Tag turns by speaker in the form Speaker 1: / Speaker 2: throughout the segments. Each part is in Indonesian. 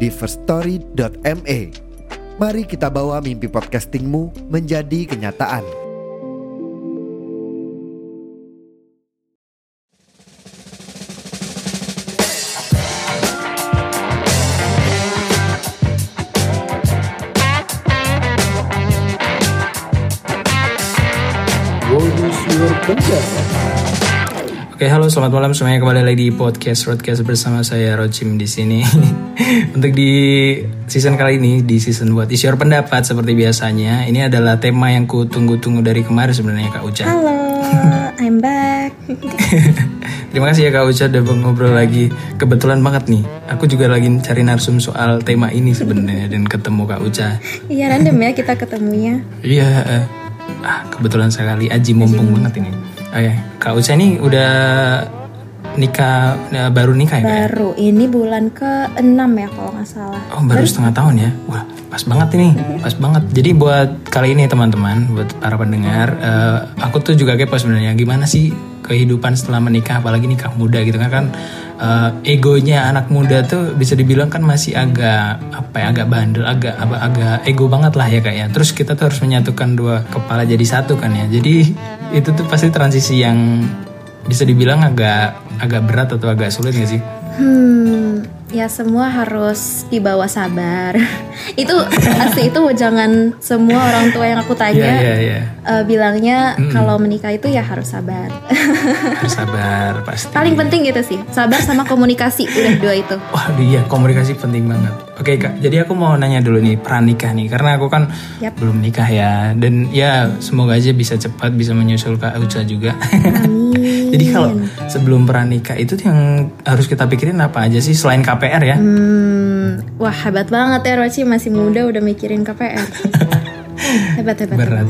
Speaker 1: di firststory.me. Mari kita bawa mimpi podcastingmu menjadi kenyataan.
Speaker 2: Oke, halo selamat malam semuanya kembali lagi di podcast Roadcast bersama saya Rocim di sini. Untuk di season kali ini, di season buat isi your pendapat seperti biasanya, ini adalah tema yang ku tunggu-tunggu dari kemarin sebenarnya Kak Uca.
Speaker 3: Halo, I'm back.
Speaker 2: Terima kasih ya Kak Uca udah ngobrol lagi. Kebetulan banget nih, aku juga lagi cari narsum soal tema ini sebenarnya dan ketemu Kak Uca.
Speaker 3: Iya random ya kita ketemunya.
Speaker 2: Iya, eh, ah kebetulan sekali Aji mumpung banget ini. Oke, Kak Uca ini udah nikah eh, baru nikah ya Kak? ya?
Speaker 3: Baru ini bulan ke-6 ya kalau nggak salah.
Speaker 2: Oh baru setengah tahun ya? Wah pas banget ini, pas banget. Jadi buat kali ini teman-teman, buat para pendengar, eh, aku tuh juga kepo sebenarnya gimana sih kehidupan setelah menikah, apalagi nikah muda gitu kan kan eh, egonya anak muda tuh bisa dibilang kan masih agak apa ya agak bandel, agak apa agak ego banget lah ya kayaknya. Terus kita tuh harus menyatukan dua kepala jadi satu kan ya. Jadi itu tuh pasti transisi yang bisa dibilang agak agak berat atau agak sulit gak sih?
Speaker 3: Hmm, ya semua harus dibawa sabar. itu asli itu jangan semua orang tua yang aku
Speaker 2: Iya
Speaker 3: tanya
Speaker 2: iya iya.
Speaker 3: eh, bilangnya kalau menikah itu ya harus sabar.
Speaker 2: Harus sabar pasti.
Speaker 3: Paling penting gitu sih, sabar sama komunikasi udah dua itu.
Speaker 2: Waduh iya komunikasi penting banget. Oke kak, jadi aku mau nanya dulu nih pranikah nih karena aku kan
Speaker 3: Yap.
Speaker 2: belum nikah ya dan ya semoga aja bisa cepat bisa menyusul kak Uca juga.
Speaker 3: Amin.
Speaker 2: jadi kalau sebelum pranikah itu tuh yang harus kita pikirin apa aja sih selain KPR ya?
Speaker 3: Hmm, wah hebat banget ya Roci masih muda udah mikirin KPR. hebat hebat.
Speaker 2: Berat.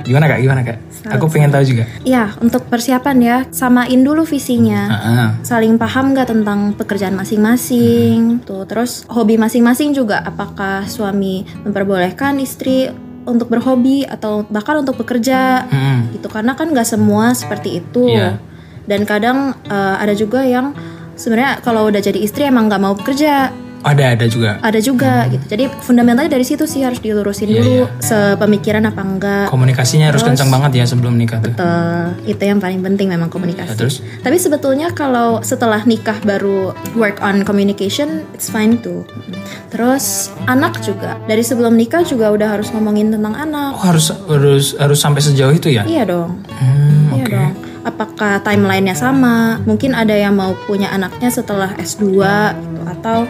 Speaker 2: Gimana kak? Gimana kak?
Speaker 3: Salut,
Speaker 2: Aku pengen tahu juga.
Speaker 3: Ya, untuk persiapan ya, samain dulu visinya.
Speaker 2: Ah,
Speaker 3: Saling paham gak tentang pekerjaan
Speaker 2: Hmm.
Speaker 3: masing-masing? Tuh, terus hobi masing-masing juga apakah suami memperbolehkan istri untuk berhobi atau bahkan untuk bekerja?
Speaker 2: ah. Mm-mm.
Speaker 3: Gitu karena kan gak semua seperti itu.
Speaker 2: Iya.
Speaker 3: Dan kadang eh, ada juga yang sebenarnya kalau udah jadi istri emang nggak mau bekerja
Speaker 2: Oh, Ada ada juga.
Speaker 3: ada juga gitu jadi fundamentalnya dari situ sih harus
Speaker 2: Hmm.
Speaker 3: dilurusin
Speaker 2: Iya,
Speaker 3: dulu sepemikiran apa enggak
Speaker 2: Komunikasinya harus
Speaker 3: Ah, Terus-
Speaker 2: kencang banget ya sebelum nikah tuh.
Speaker 3: Betul, itu yang paling penting memang komunikasi.
Speaker 2: Ya, terus?
Speaker 3: Tapi sebetulnya kalau setelah nikah baru work on communication, it's fine too. Terus anak juga, dari sebelum nikah juga udah harus ngomongin tentang
Speaker 2: Oh,
Speaker 3: anak.
Speaker 2: harus harus harus sampai sejauh itu ya?
Speaker 3: Iya dong,
Speaker 2: Hmm,
Speaker 3: iya
Speaker 2: Oke.
Speaker 3: dong. Apakah timelinenya sama? Mungkin ada yang mau punya anaknya setelah S2 gitu, atau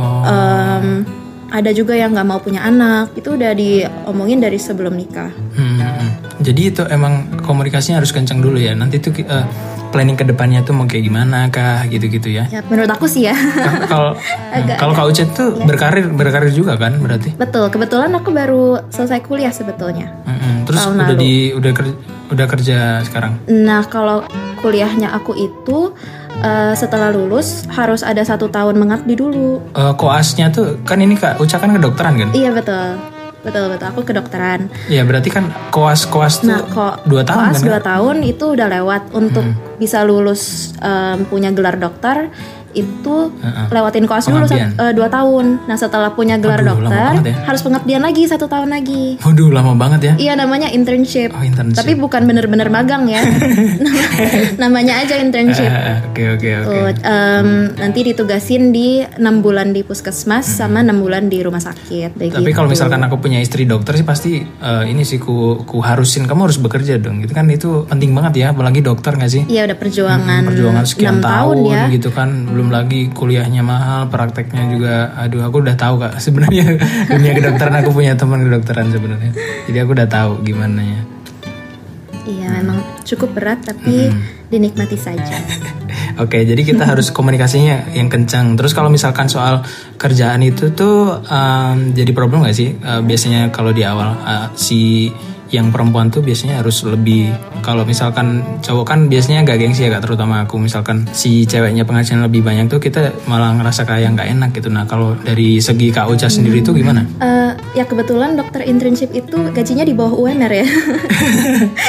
Speaker 2: Oh.
Speaker 3: em, ada juga yang nggak mau punya anak. Itu udah diomongin dari sebelum nikah.
Speaker 2: Hmm, hmm. jadi itu emang komunikasinya harus kencang dulu ya. Nanti tuh eh, planning kedepannya tuh mau kayak gimana kah gitu-gitu ya.
Speaker 3: Ya, menurut aku sih ya.
Speaker 2: Ka- Kalau hmm, kalau Kak Ucet tuh berkarir berkarir juga kan berarti.
Speaker 3: Betul, kebetulan aku baru selesai kuliah sebetulnya.
Speaker 2: Hmm, hmm. Terus
Speaker 3: Tahun
Speaker 2: udah
Speaker 3: lalu.
Speaker 2: di udah kerja udah kerja sekarang.
Speaker 3: Nah, kalau kuliahnya aku itu eh, setelah lulus harus ada satu tahun mengabdi dulu.
Speaker 2: Eh, koasnya tuh kan ini Kak Uca kan kedokteran kan?
Speaker 3: Iya betul, betul betul. Aku kedokteran.
Speaker 2: Iya berarti kan koas-koas tuh
Speaker 3: Nah, kok
Speaker 2: dua tahun
Speaker 3: koas
Speaker 2: kan? Hmm.
Speaker 3: dua tahun itu udah lewat untuk bisa lulus em, punya gelar dokter itu
Speaker 2: Heeh.
Speaker 3: lewatin koas dulu
Speaker 2: Pengabdian.
Speaker 3: sat- eh, dua tahun. Nah, setelah punya gelar
Speaker 2: Aduh, lama
Speaker 3: dokter
Speaker 2: banget ya.
Speaker 3: harus pengabdian lagi satu tahun lagi.
Speaker 2: Waduh lama banget ya.
Speaker 3: Iya namanya internship.
Speaker 2: Oh internship.
Speaker 3: Tapi bukan bener-bener magang ya. Nama- Namanya aja
Speaker 2: Eh,
Speaker 3: internship.
Speaker 2: eh, eh, Oke oke oke.
Speaker 3: Tuh, Oh, em, nanti ditugasin di enam bulan di puskesmas sama enam bulan di rumah sakit. kayak
Speaker 2: Hmm. Tapi
Speaker 3: gitu.
Speaker 2: kalau misalkan aku punya istri dokter sih pasti eh, ini sih ku, ku harusin kamu harus bekerja dong. Itu kan itu penting banget ya, apalagi dokter nggak sih?
Speaker 3: Iya udah perjuangan
Speaker 2: Hmm, Perjuangan sekian
Speaker 3: enam tahun, ya.
Speaker 2: gitu kan, belum lagi kuliahnya mahal, prakteknya juga. Aduh, aku udah tahu kak. Sebenarnya dunia kedokteran aku punya teman kedokteran sebenarnya. Jadi aku udah tahu gimana ya. Hmm.
Speaker 3: Iya memang cukup berat tapi dinikmati saja.
Speaker 2: Oke Oke, jadi kita harus komunikasinya yang kencang. Terus kalau misalkan soal kerjaan itu tuh em, jadi problem nggak sih? Eh, biasanya kalau di awal eh, si yang perempuan tuh biasanya harus lebih kalau misalkan cowok kan biasanya agak gengsi ya kak terutama aku misalkan si ceweknya penghasilan lebih banyak tuh kita malah ngerasa kayak nggak enak gitu nah kalau dari segi kak Ocha sendiri tuh gimana
Speaker 3: Eh, ya kebetulan dokter internship itu gajinya di bawah UMR ya.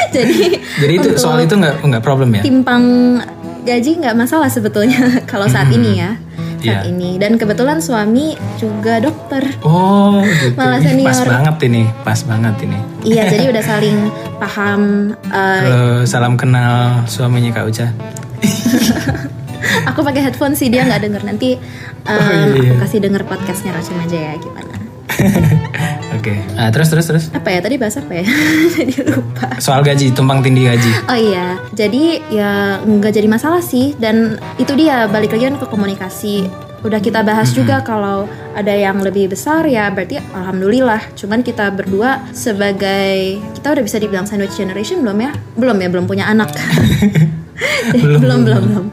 Speaker 3: Jadi
Speaker 2: jadi itu
Speaker 3: untuk
Speaker 2: soal itu nggak nggak problem ya
Speaker 3: timpang gaji nggak masalah sebetulnya kalau saat ini ya. Saat
Speaker 2: Iya.
Speaker 3: ini dan kebetulan suami juga dokter.
Speaker 2: oh gitu
Speaker 3: Malah
Speaker 2: Ih, pas
Speaker 3: senior.
Speaker 2: banget ini pas banget ini
Speaker 3: Iya, jadi udah saling paham. Eh,
Speaker 2: Halo, salam kenal suaminya Kak Uca.
Speaker 3: aku pakai headphone sih dia nggak denger nanti em,
Speaker 2: iya.
Speaker 3: aku kasih denger podcastnya Rachel aja ya gimana
Speaker 2: Oke. Nah, terus terus terus.
Speaker 3: apa ya tadi bahas apa ya jadi lupa
Speaker 2: Soal gaji, tumpang tindih gaji.
Speaker 3: Oh iya, jadi ya nggak jadi masalah sih dan itu dia balik lagi kan ke komunikasi. Udah kita bahas juga kalau ada yang lebih besar ya berarti alhamdulillah. Cuman kita berdua sebagai kita udah bisa dibilang sandwich generation belum ya? Belum ya, belum punya anak. belum belum belum. belum.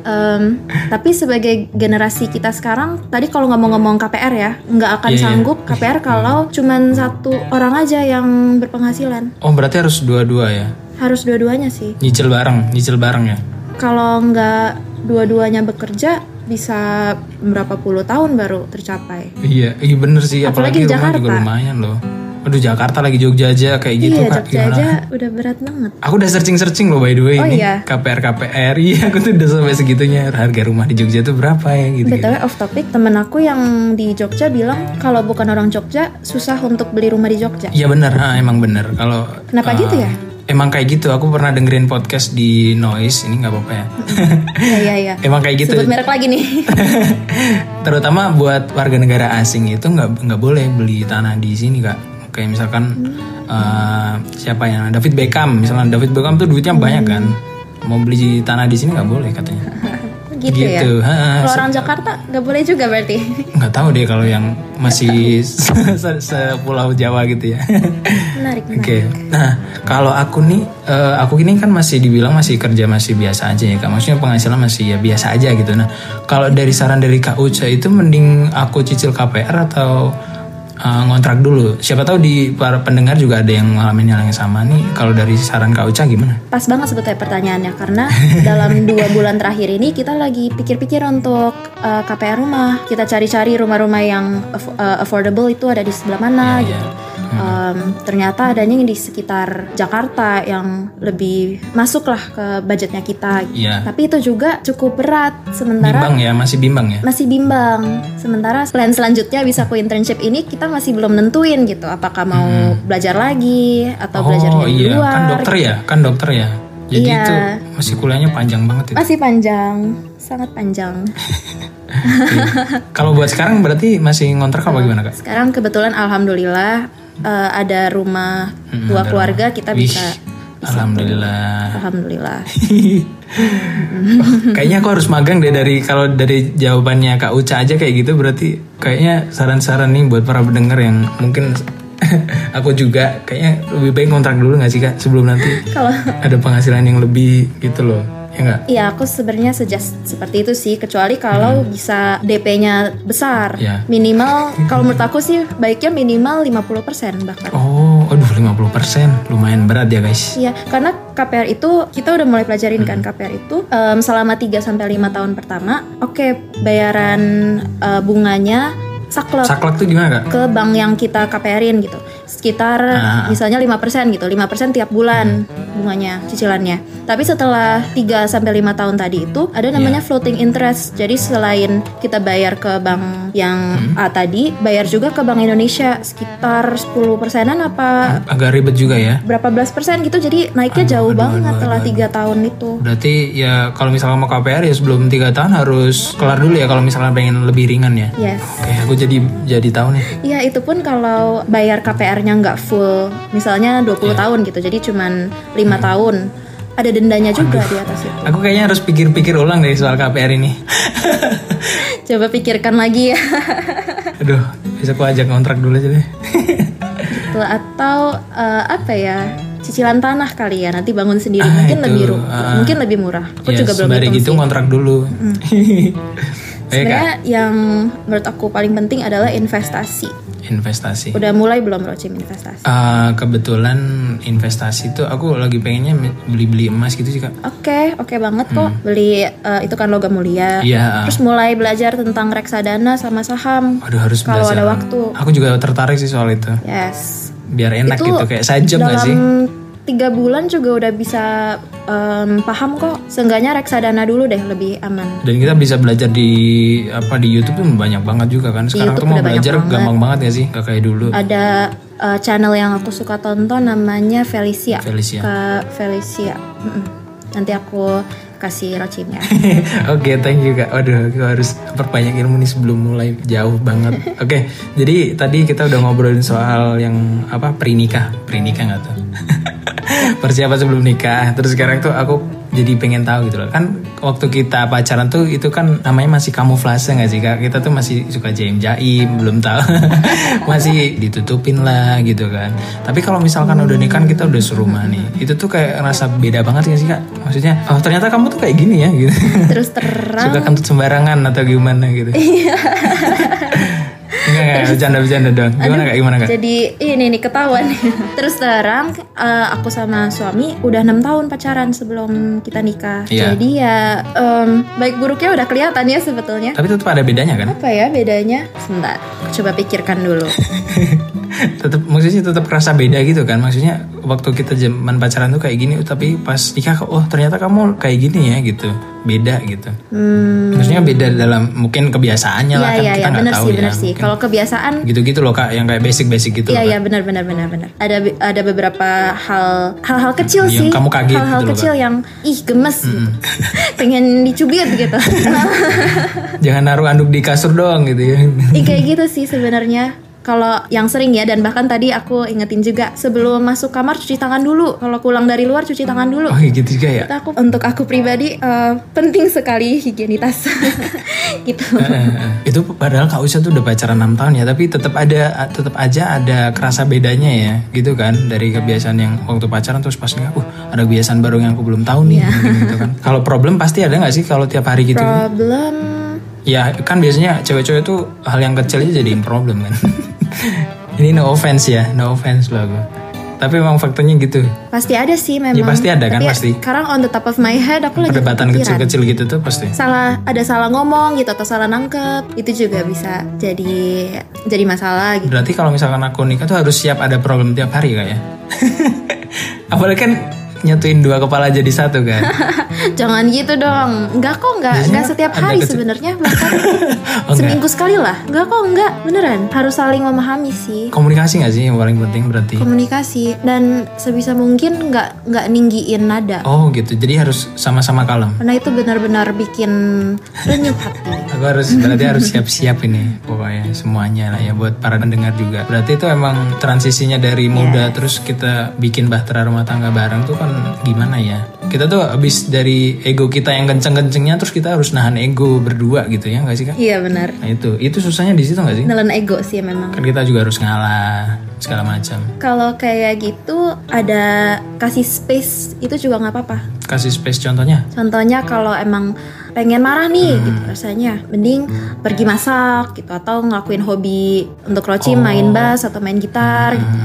Speaker 3: Em, tapi sebagai generasi kita sekarang, tadi kalau ngomong-ngomong KPR ya, nggak akan
Speaker 2: Iya, iya.
Speaker 3: sanggup KPR kalau cuman satu orang aja yang berpenghasilan.
Speaker 2: Oh, berarti harus dua-dua ya.
Speaker 3: Harus dua-duanya sih.
Speaker 2: Nyicil bareng, nyicil bareng ya.
Speaker 3: kalau nggak dua-duanya bekerja bisa berapa puluh tahun baru tercapai.
Speaker 2: Iya, iya bener sih. Apalagi,
Speaker 3: Apalagi
Speaker 2: rumah
Speaker 3: Jakarta.
Speaker 2: juga lumayan loh. Aduh, Jakarta lagi Jogja aja kayak gitu
Speaker 3: iya,
Speaker 2: Kak.
Speaker 3: Jogja
Speaker 2: Gimana?
Speaker 3: aja udah berat banget.
Speaker 2: Aku udah searching-searching loh by the way
Speaker 3: Oh,
Speaker 2: ini
Speaker 3: iya.
Speaker 2: KPR KPR. Iya, aku tuh udah sampai segitunya. Harga rumah di Jogja tuh berapa ya gitu.
Speaker 3: BTW off topic, temen aku yang di Jogja bilang kalau bukan orang Jogja susah untuk beli rumah di Jogja.
Speaker 2: Iya bener, ah, emang bener. Kalau ah,
Speaker 3: Kenapa gitu ya?
Speaker 2: Emang kayak gitu. Aku pernah dengerin podcast di Noise. Ini nggak apa-apa ya.
Speaker 3: Iya iya iya.
Speaker 2: emang kayak gitu.
Speaker 3: Sebut merek lagi nih.
Speaker 2: terutama buat warga negara asing itu nggak nggak boleh beli tanah di sini kak kayak misalkan eh, siapa yang David Beckham misalnya David Beckham tuh duitnya banyak kan mau beli tanah di sini nggak boleh katanya
Speaker 3: gitu, ya.
Speaker 2: Gitu, ha, ha.
Speaker 3: Kalau orang Jakarta nggak boleh juga berarti.
Speaker 2: nggak tahu deh kalau yang masih se- se- sepulau Jawa gitu ya
Speaker 3: menarik
Speaker 2: Oke,
Speaker 3: menarik.
Speaker 2: nah kalau aku nih, eh, aku ini kan masih dibilang masih kerja masih biasa aja ya kak. Maksudnya penghasilan masih ya biasa aja gitu. Nah, kalau dari saran dari kak Uca itu mending aku cicil KPR atau eh, ngontrak dulu. Siapa tahu di para pendengar juga ada yang ngalamin hal yang sama nih. Kalau dari saran kak Uca gimana?
Speaker 3: Pas banget sebetulnya pertanyaannya karena dalam dua bulan terakhir ini kita lagi pikir-pikir untuk eh, KPR rumah. Kita cari-cari rumah-rumah yang aff- eh, affordable itu ada di
Speaker 2: Iya,
Speaker 3: sebelah mana gitu. Em, ternyata adanya yang di sekitar Jakarta yang lebih masuk lah ke budgetnya kita. gitu.
Speaker 2: Iya.
Speaker 3: Tapi itu juga cukup berat sementara
Speaker 2: Bimbang ya, masih bimbang ya.
Speaker 3: masih bimbang. Sementara plan selanjutnya bisa ku internship ini kita masih belum nentuin gitu apakah mau belajar lagi atau belajarnya
Speaker 2: Hmm. oh
Speaker 3: di
Speaker 2: iya,
Speaker 3: luar.
Speaker 2: kan dokter ya, kan dokter ya. Jadi
Speaker 3: Iya.
Speaker 2: itu masih kuliahnya panjang banget ya. Iya. itu.
Speaker 3: Masih panjang, sangat panjang.
Speaker 2: kalau buat sekarang berarti masih ngontrak apa gimana kak?
Speaker 3: Sekarang kebetulan alhamdulillah eh, ada rumah dua keluarga kita
Speaker 2: Hmm, Wih,
Speaker 3: bisa gitu.
Speaker 2: Alhamdulillah.
Speaker 3: alhamdulillah.
Speaker 2: kayaknya aku harus magang deh dari kalau dari jawabannya Kak Uca aja kayak gitu berarti kayaknya saran-saran nih buat para pendengar yang mungkin aku juga kayaknya lebih baik kontrak dulu nggak sih Kak sebelum nanti
Speaker 3: Kalau
Speaker 2: ada penghasilan yang lebih gitu loh ya nggak
Speaker 3: Iya, aku sebenarnya suggest seperti itu sih, kecuali kalau bisa DP-nya besar.
Speaker 2: Hmm. Iya.
Speaker 3: Minimal kalau menurut aku sih baiknya minimal 50% bahkan.
Speaker 2: oh aduh 50% lumayan berat ya guys
Speaker 3: Iya, karena KPR itu kita udah mulai pelajarin
Speaker 2: Hmm.
Speaker 3: kan KPR itu em, selama 3 sampai 5 tahun pertama, oke bayaran eh, bunganya saklek.
Speaker 2: saklek tuh gimana Kak
Speaker 3: ke bank yang kita KPR-in gitu sekitar
Speaker 2: Ah.
Speaker 3: misalnya 5% gitu 5% tiap bulan bunganya cicilannya tapi setelah 3 sampai 5 tahun tadi itu ada namanya floating interest jadi selain kita bayar ke bank yang A tadi bayar juga ke Bank Indonesia sekitar 10 persenan apa
Speaker 2: agak ribet juga ya
Speaker 3: berapa belas persen gitu jadi naiknya jauh banget setelah tiga tahun itu
Speaker 2: berarti ya kalau misalnya mau KPR ya sebelum tiga tahun harus kelar dulu ya kalau misalnya pengen lebih ringan ya
Speaker 3: yes
Speaker 2: oke aku jadi jadi tahu nih
Speaker 3: Iya itu pun kalau bayar KPR-nya nggak full, misalnya 20
Speaker 2: Iya.
Speaker 3: tahun gitu, jadi cuman lima tahun, ada dendanya juga di atas itu.
Speaker 2: Aku kayaknya harus pikir-pikir ulang dari soal KPR ini.
Speaker 3: Coba pikirkan lagi ya.
Speaker 2: Aduh, bisa aku ajak kontrak dulu aja deh.
Speaker 3: Gitu. Atau eh, apa ya? cicilan tanah kali ya nanti bangun sendiri
Speaker 2: Ah,
Speaker 3: mungkin
Speaker 2: itu.
Speaker 3: lebih ru-
Speaker 2: Ah.
Speaker 3: mungkin lebih murah aku
Speaker 2: ya,
Speaker 3: juga belum
Speaker 2: sembari gitu Iya
Speaker 3: hitung sih. Hmm.
Speaker 2: kontrak dulu. Oke kak,
Speaker 3: sebenarnya yang menurut aku paling penting adalah investasi
Speaker 2: investasi.
Speaker 3: udah mulai belum Rocim investasi
Speaker 2: Eh, kebetulan investasi itu aku lagi pengennya beli-beli emas gitu sih kak.
Speaker 3: Oke, oke banget kok beli eh, itu kan logam mulia.
Speaker 2: Hmm. Iya.
Speaker 3: Terus mulai belajar tentang reksadana sama saham.
Speaker 2: Waduh harus
Speaker 3: Kalau
Speaker 2: belajar.
Speaker 3: ada waktu.
Speaker 2: Aku juga tertarik sih soal itu.
Speaker 3: Yes.
Speaker 2: Biar enak gitu kayak sajam
Speaker 3: dalam
Speaker 2: gak sih?
Speaker 3: tiga bulan juga udah bisa em, paham kok. Seenggaknya reksadana dulu deh lebih aman.
Speaker 2: Dan kita bisa belajar di apa di YouTube tuh banyak banget juga kan. Sekarang
Speaker 3: YouTube
Speaker 2: tuh mau
Speaker 3: udah banyak
Speaker 2: belajar
Speaker 3: banget.
Speaker 2: gampang banget gak sih? Gak kayak dulu.
Speaker 3: Ada eh, channel yang aku suka tonton namanya Felicia.
Speaker 2: Felicia.
Speaker 3: Kak Felicia. Mm-mm. Nanti aku kasih rocimnya.
Speaker 2: Oke, thank you kak. Waduh, aku harus perbanyak ilmu nih sebelum mulai jauh banget. Oke, jadi tadi kita udah ngobrolin soal yang apa pernikah, pernikah nggak tuh? Persiapan sebelum nikah. Terus sekarang tuh aku jadi pengen tahu gitu loh. Kan waktu kita pacaran tuh itu kan namanya masih kamuflase nggak sih kak? Kita tuh masih suka jaim jaim, belum tahu, masih ditutupin lah gitu kan. Tapi kalau misalkan udah nikah kan kita udah serumah nih, itu tuh kayak rasa beda banget nggak sih kak? Maksudnya, oh ternyata kamu tuh kayak gini ya gitu.
Speaker 3: Terus terang
Speaker 2: Suka kentut sembarangan atau gimana gitu. Iya. Enggak enggak bercanda-bercanda dong. Gimana Kak? Gimana Kak?
Speaker 3: Jadi ini nih ketahuan. Terus terang eh, aku sama suami udah enam tahun pacaran sebelum kita nikah.
Speaker 2: Iya.
Speaker 3: Jadi ya em, baik buruknya udah kelihatan ya sebetulnya.
Speaker 2: Tapi tetap ada bedanya kan?
Speaker 3: Apa ya bedanya? Sebentar, coba pikirkan dulu.
Speaker 2: tetap maksudnya tetap kerasa beda gitu kan? Maksudnya waktu kita zaman pacaran tuh kayak gini tapi pas nikah oh ternyata kamu kayak gini ya gitu. Beda gitu.
Speaker 3: Hmm.
Speaker 2: Maksudnya beda dalam mungkin kebiasaannya lah kan
Speaker 3: Iya iya
Speaker 2: kita
Speaker 3: iya
Speaker 2: nggak
Speaker 3: benar
Speaker 2: tahu
Speaker 3: sih
Speaker 2: ya.
Speaker 3: benar sih.
Speaker 2: Mungkin
Speaker 3: Kalau kebiasaan
Speaker 2: Gitu-gitu loh Kak yang kayak basic-basic gitu loh.
Speaker 3: Iya
Speaker 2: Kak.
Speaker 3: iya benar benar benar benar. Ada be- ada beberapa hal hal-hal kecil
Speaker 2: Yang
Speaker 3: sih.
Speaker 2: kamu kaget
Speaker 3: hal-hal
Speaker 2: gitu loh,
Speaker 3: kecil yang ih gemes gitu. Pengen dicubit gitu.
Speaker 2: Jangan naruh anduk di kasur doang gitu ya.
Speaker 3: Ih, kayak gitu sih sebenarnya. Kalau yang sering ya dan bahkan tadi aku ingetin juga sebelum masuk kamar cuci tangan dulu. Kalau pulang dari luar cuci tangan dulu.
Speaker 2: Oh gitu juga ya.
Speaker 3: Itu aku untuk aku pribadi eh, penting sekali higienitas. gitu.
Speaker 2: Eh, eh, eh. itu padahal Kak Usha tuh udah pacaran 6 tahun ya tapi tetap ada tetap aja ada kerasa bedanya ya gitu kan dari kebiasaan yang waktu pacaran terus pas nikah uh ada kebiasaan baru yang aku belum tahu nih
Speaker 3: Iya.
Speaker 2: mungkin gitu kan kalau problem pasti ada nggak sih kalau tiap hari gitu
Speaker 3: Problem
Speaker 2: ya kan biasanya cewek-cewek tuh hal yang kecil aja jadiin problem kan ini no offense ya no offense loh aku tapi emang faktanya gitu
Speaker 3: pasti ada sih memang.
Speaker 2: Ya, pasti ada kan,
Speaker 3: Tapi
Speaker 2: pasti.
Speaker 3: Sekarang on the top of my head aku lagi
Speaker 2: perdebatan
Speaker 3: kepikiran.
Speaker 2: kecil-kecil gitu tuh pasti
Speaker 3: salah ada salah ngomong gitu atau salah nangkep itu juga bisa jadi jadi masalah gitu.
Speaker 2: Berarti kalau misalkan aku nikah tuh harus siap ada problem tiap hari kak ya? Apalagi kan nyatuin dua kepala jadi satu kan?
Speaker 3: Jangan gitu dong. Enggak kok, enggak
Speaker 2: Biasanya
Speaker 3: enggak setiap
Speaker 2: ada
Speaker 3: hari
Speaker 2: kecil-
Speaker 3: sebenarnya bahkan
Speaker 2: Oh, enggak.
Speaker 3: seminggu sekali lah. Enggak kok, enggak. Beneran. Harus saling memahami sih
Speaker 2: Komunikasi nggak sih yang paling penting berarti?
Speaker 3: komunikasi dan sebisa mungkin nggak nggak ninggiin nada.
Speaker 2: Oh gitu, jadi harus sama-sama kalem.
Speaker 3: Karena itu benar-benar bikin renyuh hati.
Speaker 2: Aku harus berarti harus siap-siap ini pokoknya semuanya lah ya buat para pendengar juga. Berarti itu emang transisinya dari
Speaker 3: Iya.
Speaker 2: muda terus kita bikin bahtera rumah tangga bareng tuh kan gimana ya? Kita tuh habis dari ego kita yang kenceng-kencengnya terus kita harus nahan ego berdua gitu ya nggak sih kak?
Speaker 3: Iya benar.
Speaker 2: Nah itu itu susahnya di situ nggak sih?
Speaker 3: Nelen ego sih memang.
Speaker 2: kan kita juga harus ngalah segala macam
Speaker 3: Kalau kayak gitu ada kasih space itu juga nggak apa-apa.
Speaker 2: kasih space contohnya
Speaker 3: Contohnya kalau emang pengen marah nih
Speaker 2: Hmm.
Speaker 3: gitu rasanya, mending pergi masak gitu atau ngelakuin hobi untuk roci
Speaker 2: Oh.
Speaker 3: main bass atau main gitar
Speaker 2: Hmm.
Speaker 3: gitu.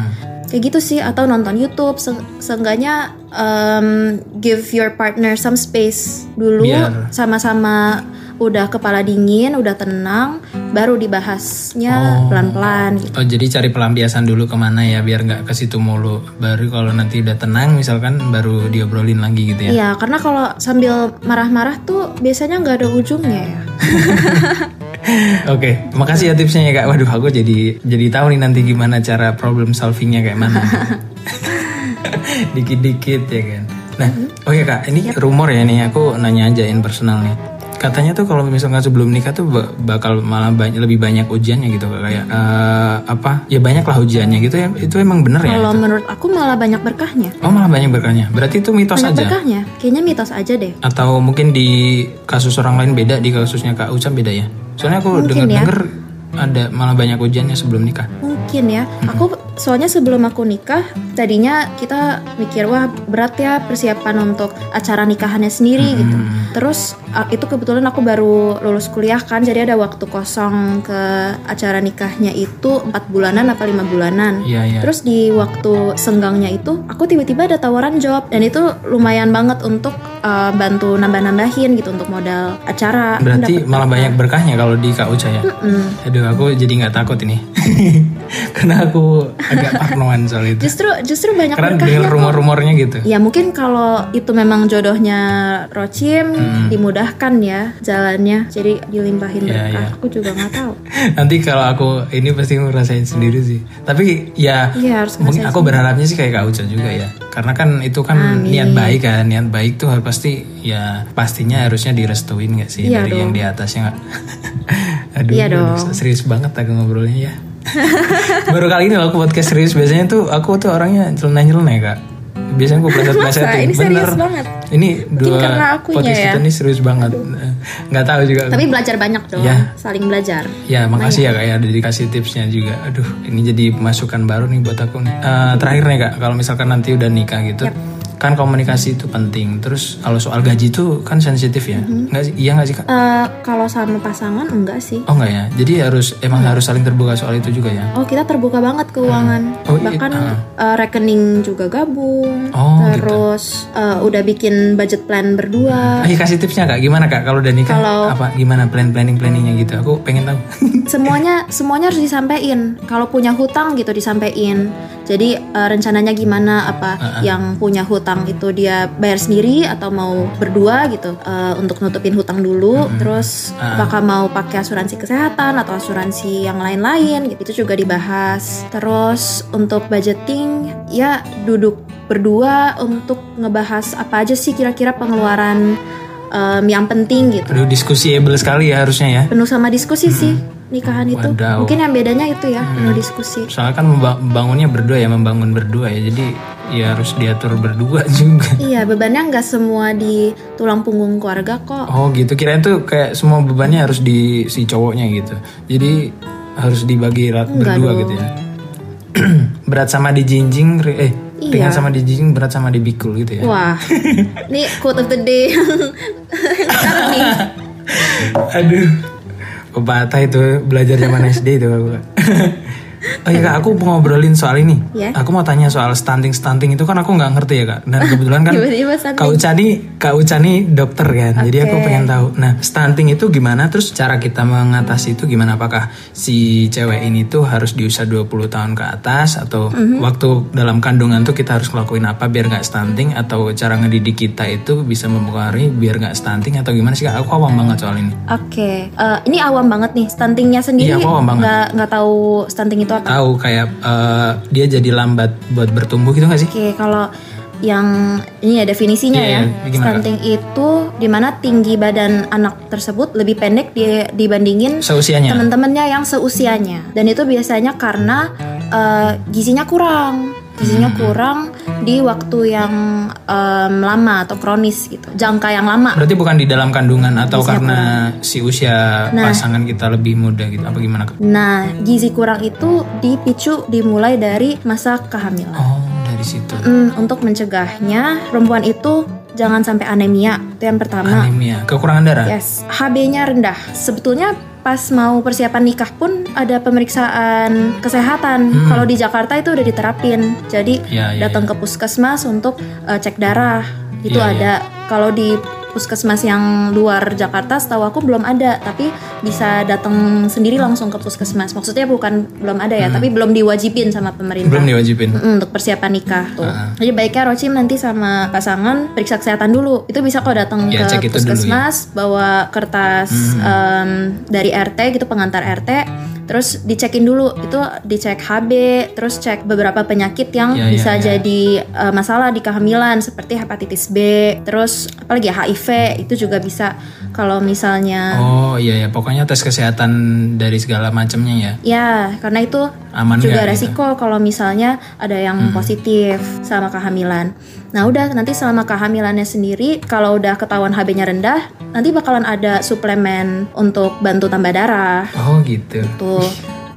Speaker 3: Kayak gitu sih atau nonton YouTube se- seenggaknya em, give your partner some space dulu
Speaker 2: Biar-
Speaker 3: sama-sama udah kepala dingin, udah tenang, baru dibahasnya pelan-pelan gitu.
Speaker 2: oh jadi cari pelampiasan dulu kemana ya biar nggak ke situ mulu baru kalau nanti udah tenang misalkan baru diobrolin lagi gitu ya
Speaker 3: Iya, karena kalau sambil marah-marah tuh biasanya nggak ada ujungnya ya.
Speaker 2: oke makasih ya tipsnya ya kak waduh aku jadi jadi tahu nih nanti gimana cara problem solvingnya kayak mana dikit-dikit ya kan nah oh ya kak ini rumor ya nih aku nanya ajain personal nih katanya tuh kalau misalkan sebelum nikah tuh ba- bakal malah banyak lebih banyak ujiannya gitu Kak. kayak eh, apa ya banyak lah ujiannya gitu ya itu emang bener ya
Speaker 3: Kalau menurut aku malah banyak berkahnya.
Speaker 2: oh malah banyak berkahnya berarti itu mitos
Speaker 3: Banyak
Speaker 2: aja
Speaker 3: berkahnya. Kayaknya mitos aja deh.
Speaker 2: atau mungkin di kasus orang lain beda di kasusnya kak Ucap beda ya soalnya aku
Speaker 3: Mungkin ya.
Speaker 2: dengar dengar ada malah banyak ujiannya sebelum nikah
Speaker 3: Mungkin ya. Aku Soalnya sebelum aku nikah, tadinya kita mikir wah berat ya persiapan untuk acara nikahannya sendiri
Speaker 2: Hmm.
Speaker 3: gitu. Terus a- itu kebetulan aku baru lulus kuliah kan, jadi ada waktu kosong ke acara nikahnya itu empat bulanan apa lima bulanan.
Speaker 2: Iya iya.
Speaker 3: Terus di waktu senggangnya itu, aku tiba-tiba ada tawaran job dan itu lumayan banget untuk uh, bantu nambah-nambahin gitu untuk modal acara.
Speaker 2: Berarti
Speaker 3: Dapet-
Speaker 2: malah banyak berkahnya kalau di KUC ya.
Speaker 3: Mm.
Speaker 2: Aduh aku jadi nggak takut ini. Karena aku agak parnoan soal itu.
Speaker 3: Justru justru banyak
Speaker 2: Karena
Speaker 3: berkahnya.
Speaker 2: dengar
Speaker 3: kok.
Speaker 2: rumor-rumornya gitu.
Speaker 3: Ya mungkin kalau itu memang jodohnya Rochim
Speaker 2: Hmm.
Speaker 3: dimudahkan ya jalannya. Jadi
Speaker 2: Iya,
Speaker 3: dilimpahin berkah.
Speaker 2: iya.
Speaker 3: Aku juga nggak tahu.
Speaker 2: Nanti kalau aku ini pasti ngerasain sendiri sih. Tapi ya
Speaker 3: Iya harus
Speaker 2: mungkin
Speaker 3: ngerasain
Speaker 2: aku berharapnya sih kayak Kak Uca juga ya. Karena kan itu kan
Speaker 3: Amin.
Speaker 2: niat baik kan, niat baik tuh harus pasti ya pastinya harusnya direstuin gak sih
Speaker 3: Iya
Speaker 2: dari
Speaker 3: dong.
Speaker 2: yang di atasnya nggak? aduh,
Speaker 3: Iya
Speaker 2: aduh,
Speaker 3: dong.
Speaker 2: serius banget aku ngobrolnya ya. Baru kali ini loh aku podcast serius. Biasanya tuh aku tuh orangnya nyeleneh-nyeleneh Kak. Biasanya aku pleset-pleset
Speaker 3: Masa? Ini serius banget.
Speaker 2: Ini dua
Speaker 3: karena akunya
Speaker 2: podcast
Speaker 3: ya.
Speaker 2: kita ini serius banget. Nggak tahu juga.
Speaker 3: Tapi belajar banyak dong.
Speaker 2: Iya.
Speaker 3: Saling belajar.
Speaker 2: Ya makasih ya kak ya udah dikasih tipsnya juga. Aduh ini jadi masukan baru nih buat aku nih. Eh, terakhir nih kak kalau misalkan nanti udah nikah gitu. Kan komunikasi itu penting. Terus kalau soal gaji itu kan sensitif ya. Nggak sih? Iya nggak sih kak?
Speaker 3: Eh, kalau sama pasangan enggak sih.
Speaker 2: Oh nggak ya. Jadi harus emang harus saling terbuka soal itu juga ya.
Speaker 3: Oh kita terbuka banget keuangan,
Speaker 2: Oh, iya,
Speaker 3: bahkan
Speaker 2: ah.
Speaker 3: eh, rekening juga gabung,
Speaker 2: Oh, gitu.
Speaker 3: terus eh, udah bikin budget plan berdua.
Speaker 2: Ayo kasih tipsnya kak. Gimana kak kalau udah nikah?
Speaker 3: Eh. Kalau-
Speaker 2: Apa gimana plan planning planningnya gitu? Aku pengen tahu.
Speaker 3: semuanya semuanya harus disampaikan. Kalau punya hutang gitu disampaikan. Jadi eh, rencananya gimana? Apa yang punya hutang itu dia bayar sendiri atau mau berdua gitu eh, untuk nutupin hutang dulu. Terus apakah mau pakai asuransi kesehatan atau asuransi yang lain-lain? Gitu. Itu juga dibahas. Terus untuk budgeting ya duduk berdua untuk ngebahas apa aja sih kira-kira pengeluaran em, yang penting gitu
Speaker 2: Aduh diskusiable sekali ya harusnya ya.
Speaker 3: penuh sama diskusi sih nikahan itu
Speaker 2: Hmm. Wadaw.
Speaker 3: mungkin yang bedanya itu ya penuh diskusi
Speaker 2: Soalnya kan memba- membangunnya berdua ya membangun berdua ya. Jadi ya harus diatur berdua juga.
Speaker 3: iya bebannya nggak semua di tulang punggung keluarga kok
Speaker 2: Oh gitu, kirain tuh kayak semua bebannya harus di si cowoknya gitu. Jadi harus dibagi rat
Speaker 3: Enggak
Speaker 2: berdua
Speaker 3: dong.
Speaker 2: gitu ya. berat sama di jinjing, ri- eh
Speaker 3: Iya.
Speaker 2: ringan sama di jinjing, berat sama di bikul gitu ya.
Speaker 3: wah ini quote of the day Sekarang nih
Speaker 2: Aduh, pepatah itu belajar zaman SD itu aku. Oh iya kak, aku mau ngobrolin soal ini.
Speaker 3: Ya.
Speaker 2: Aku mau tanya soal stunting stunting itu kan aku nggak ngerti ya kak. Dan kebetulan kan
Speaker 3: Tiba-tiba stunting.
Speaker 2: kak Uca nih, kak Uca nih dokter kan. Jadi aku
Speaker 3: Oke.
Speaker 2: pengen tahu. Nah stunting itu gimana? Terus cara kita mengatasi itu gimana? Apakah si cewek ini tuh harus diusia 20 tahun ke atas atau
Speaker 3: Mhm.
Speaker 2: waktu dalam kandungan tuh kita harus ngelakuin apa biar nggak stunting atau cara ngedidik kita itu bisa mempengaruhi biar nggak stunting atau gimana sih kak? Aku awam banget soal ini.
Speaker 3: Oke, eh, ini awam banget nih stuntingnya sendiri
Speaker 2: Iya, aku awam banget.
Speaker 3: nggak nggak tahu stunting itu apa.
Speaker 2: tahu kayak eh, dia jadi lambat buat bertumbuh gitu gak sih?
Speaker 3: Oke, kalau yang ini ya definisinya
Speaker 2: Iya, iya.
Speaker 3: ya.
Speaker 2: Gimana, Kak?
Speaker 3: Stunting itu dimana tinggi badan anak tersebut lebih pendek di- dibandingin
Speaker 2: Seusianya.
Speaker 3: teman-temannya yang seusianya dan itu biasanya karena eh, gizinya kurang gizinya kurang di waktu yang em, lama atau kronis gitu jangka yang lama
Speaker 2: Berarti bukan di dalam kandungan atau
Speaker 3: Usia
Speaker 2: karena si usia pasangan kita lebih muda gitu apa gimana? Kak?
Speaker 3: nah gizi kurang itu dipicu dimulai dari masa kehamilan
Speaker 2: Oh, dari situ.
Speaker 3: Mm, untuk mencegahnya perempuan itu jangan sampai anemia itu yang pertama
Speaker 2: Anemia, kekurangan darah.
Speaker 3: Yes, HB-nya rendah. Sebetulnya pas mau persiapan nikah pun ada pemeriksaan kesehatan. Kalau di Jakarta itu udah diterapin. Jadi
Speaker 2: Hmm. Ya, ya,
Speaker 3: datang ke puskesmas untuk eh, cek darah. Itu
Speaker 2: Ya, ya.
Speaker 3: ada. Kalau di puskesmas yang luar Jakarta setahu aku belum ada, tapi bisa datang sendiri langsung ke puskesmas. Maksudnya bukan belum ada ya, tapi belum diwajibin sama pemerintah.
Speaker 2: Hmm. Belum diwajibin.
Speaker 3: Mm, untuk persiapan nikah tuh.
Speaker 2: Ah.
Speaker 3: Jadi baiknya Rochim nanti sama pasangan periksa kesehatan dulu. Itu bisa kok datang
Speaker 2: Ya, cek
Speaker 3: ke
Speaker 2: itu dulu ya.
Speaker 3: puskesmas bawa kertas em, dari RT gitu pengantar RT. Terus dicekin dulu itu dicek HB, terus cek beberapa penyakit yang
Speaker 2: Ya, ya,
Speaker 3: bisa
Speaker 2: ya.
Speaker 3: jadi eh, masalah di kehamilan seperti hepatitis B, terus apalagi ya HIV itu juga bisa kalau misalnya
Speaker 2: Oh iya ya, pokoknya tes kesehatan dari segala macamnya ya.
Speaker 3: Ya, karena itu
Speaker 2: Aman nggak
Speaker 3: juga
Speaker 2: gitu? Hmm.
Speaker 3: resiko kalau misalnya ada yang positif sama kehamilan. Nah, udah nanti selama kehamilannya sendiri kalau udah ketahuan HB-nya rendah, nanti bakalan ada suplemen untuk bantu tambah darah
Speaker 2: Oh gitu.
Speaker 3: tuh.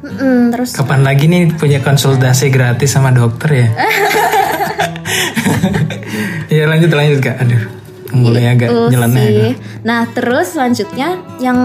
Speaker 3: Mm-mm, terus
Speaker 2: Kapan lagi nih punya konsultasi gratis sama dokter ya? ya lanjut lanjut kak. Aduh, mulai agak
Speaker 3: Itu
Speaker 2: nyeleneh.
Speaker 3: gitu
Speaker 2: ya.
Speaker 3: sih.
Speaker 2: Kak.
Speaker 3: Nah, terus selanjutnya yang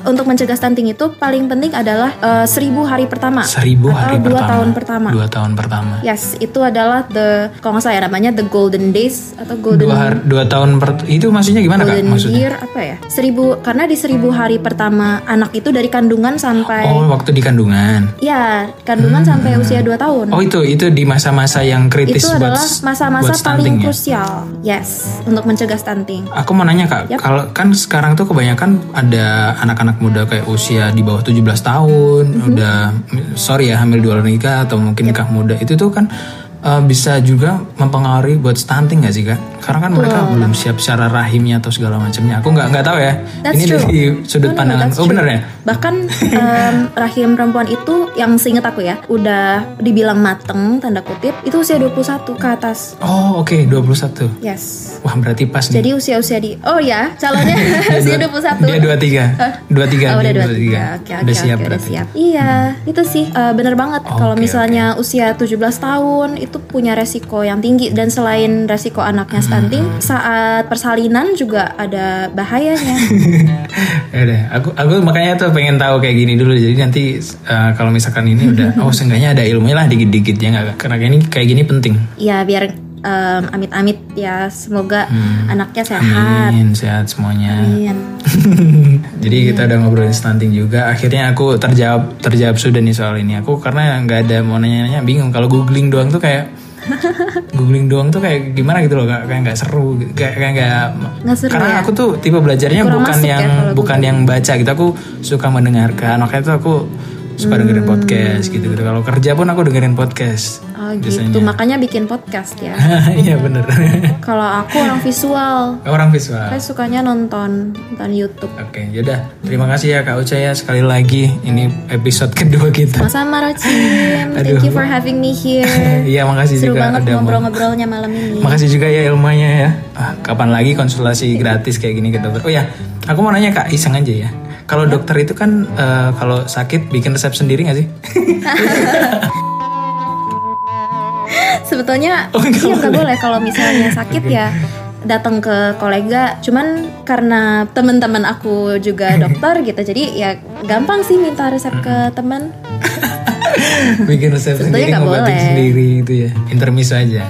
Speaker 3: untuk mencegah stunting itu paling penting adalah eh, 1000 hari pertama.
Speaker 2: Seribu
Speaker 3: atau
Speaker 2: hari
Speaker 3: dua
Speaker 2: pertama.
Speaker 3: tahun pertama.
Speaker 2: Dua tahun pertama.
Speaker 3: Yes, itu adalah the kalau nggak salah ya namanya the golden days atau golden
Speaker 2: Dua, har- dua tahun per, itu maksudnya gimana kak?
Speaker 3: golden
Speaker 2: Maksudnya?
Speaker 3: year apa ya? Seribu karena di seribu hari pertama anak itu dari kandungan sampai
Speaker 2: Oh waktu di kandungan.
Speaker 3: ya kandungan sampai usia 2 tahun.
Speaker 2: Oh itu itu di masa-masa yang kritis
Speaker 3: Hmm. itu
Speaker 2: buat
Speaker 3: adalah masa-masa
Speaker 2: buat stunting
Speaker 3: paling
Speaker 2: ya?
Speaker 3: krusial. Yes, untuk mencegah stunting.
Speaker 2: Aku mau nanya kak, kalau kan sekarang tuh kebanyakan ada anak-anak muda kayak usia di bawah 17 tahun,
Speaker 3: Mhm.
Speaker 2: udah sorry ya hamil di luar nikah atau mungkin nikah muda itu tuh kan eh, bisa juga mempengaruhi buat stunting gak sih kak? Karena kan mereka belum siap secara rahimnya atau segala macamnya. Aku nggak nggak tahu ya.
Speaker 3: That's
Speaker 2: Ini
Speaker 3: true.
Speaker 2: dari sudut
Speaker 3: No, no,
Speaker 2: pandangan.
Speaker 3: that's
Speaker 2: Oh
Speaker 3: true.
Speaker 2: bener ya?
Speaker 3: Bahkan em, rahim perempuan itu yang seingat aku ya, udah dibilang mateng tanda kutip itu usia 21 ke atas.
Speaker 2: Oh oke 21.
Speaker 3: Yes.
Speaker 2: Wah berarti pas nih.
Speaker 3: Jadi usia-usia di Oh ya, calonnya usia 21.
Speaker 2: Hmm. Dia 23. 23.
Speaker 3: Oh, udah
Speaker 2: dia
Speaker 3: 23. Oke, oke,
Speaker 2: ya? Udah
Speaker 3: oke,
Speaker 2: siap
Speaker 3: udah
Speaker 2: berarti.
Speaker 3: siap. Iya, itu sih eh, bener banget kalau
Speaker 2: Oke,
Speaker 3: misalnya usia 17 tahun itu punya resiko yang tinggi dan selain resiko anaknya stunting,
Speaker 2: Ah.
Speaker 3: saat persalinan juga ada bahayanya.
Speaker 2: Ya udah, aku aku makanya tuh pengen tahu kayak gini dulu. Jadi nanti uh, kalau misalkan ini udah, oh seenggaknya ada ilmunya lah dikit-dikit ya nggak? Kak? Karena kayak ini kayak gini penting.
Speaker 3: Iya, biar em, amit-amit ya, semoga
Speaker 2: Hmm.
Speaker 3: anaknya sehat.
Speaker 2: Amin, sehat semuanya.
Speaker 3: Amin.
Speaker 2: Jadi kita udah ngobrolin stunting juga. Akhirnya aku terjawab terjawab sudah nih soal ini. Aku karena nggak ada mau nanya-nanya bingung. Kalau googling doang tuh kayak googling doang tuh kayak gimana gitu loh kak kayak nggak seru kayak kayak nggak
Speaker 3: Nggak seru
Speaker 2: karena
Speaker 3: ya?
Speaker 2: aku tuh tipe belajarnya
Speaker 3: Kurang
Speaker 2: bukan
Speaker 3: masuk ya
Speaker 2: yang
Speaker 3: kalau
Speaker 2: bukan yang baca gitu aku suka mendengarkan makanya tuh aku suka dengerin podcast gitu gitu kalau kerja pun aku dengerin podcast
Speaker 3: Hmm. Oh gitu, makanya bikin podcast ya.
Speaker 2: iya bener
Speaker 3: Kalau aku orang visual,
Speaker 2: orang visual
Speaker 3: saya sukanya nonton nonton YouTube.
Speaker 2: Oke, yaudah. Terima kasih ya Kak Uca ya sekali lagi. Ini episode kedua kita.
Speaker 3: Sama Rocin, thank you for having me here.
Speaker 2: Iya, makasih
Speaker 3: Seru
Speaker 2: juga
Speaker 3: banget
Speaker 2: udah mau.
Speaker 3: ngobrol-ngobrolnya malam ini.
Speaker 2: Makasih juga ya ilmunya ya. Ah, kapan lagi konsultasi gratis kayak gini ke dokter? Oh ya, aku mau nanya Kak, iseng aja ya. Kalau dokter itu kan eh, kalau sakit bikin resep sendiri nggak sih?
Speaker 3: Sebetulnya
Speaker 2: Oh, nggak
Speaker 3: iya nggak boleh kalau misalnya sakit ya datang ke kolega. Cuman karena teman-teman aku juga dokter gitu, jadi ya gampang sih minta resep
Speaker 2: Hmm.
Speaker 3: ke teman.
Speaker 2: bikin resep sendiri,
Speaker 3: nggak
Speaker 2: ngobatin
Speaker 3: boleh.
Speaker 2: sendiri itu ya. Intermiso aja.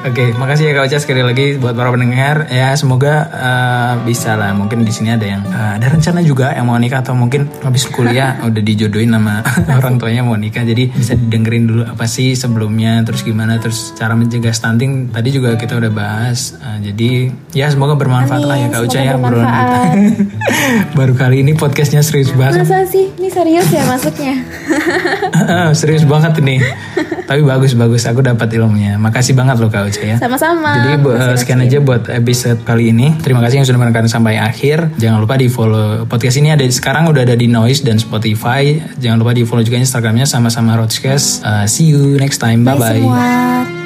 Speaker 2: Oke, makasih ya Kak Uca sekali lagi buat para pendengar ya. Semoga eh, bisa lah. Mungkin di sini ada yang eh, ada rencana juga yang mau nikah atau mungkin habis kuliah udah dijodohin sama orang tuanya mau nikah. Jadi bisa dengerin dulu apa sih sebelumnya, terus gimana, terus cara mencegah stunting. Tadi juga kita udah bahas. Eh, jadi ya semoga bermanfaat lah ya Kak Uca
Speaker 3: semoga
Speaker 2: ya obrolan kita.
Speaker 3: bermanfaat.
Speaker 2: Baru kali ini podcastnya serius banget.
Speaker 3: Masa sih? Ini serius ya masuknya?
Speaker 2: Serius banget ini. Tapi bagus-bagus aku dapat ilmunya. Makasih banget loh Kak Uca ya.
Speaker 3: Sama-sama.
Speaker 2: Jadi bu- eh, sekian aja buat episode kali ini. Terima kasih yang sudah menonton sampai akhir. Jangan lupa di follow podcast ini ada sekarang udah ada di Noise dan Spotify. Jangan lupa di follow juga Instagramnya sama-sama Rodcast. Eh, see you next time. Bye
Speaker 3: Bye
Speaker 2: bye.
Speaker 3: semua.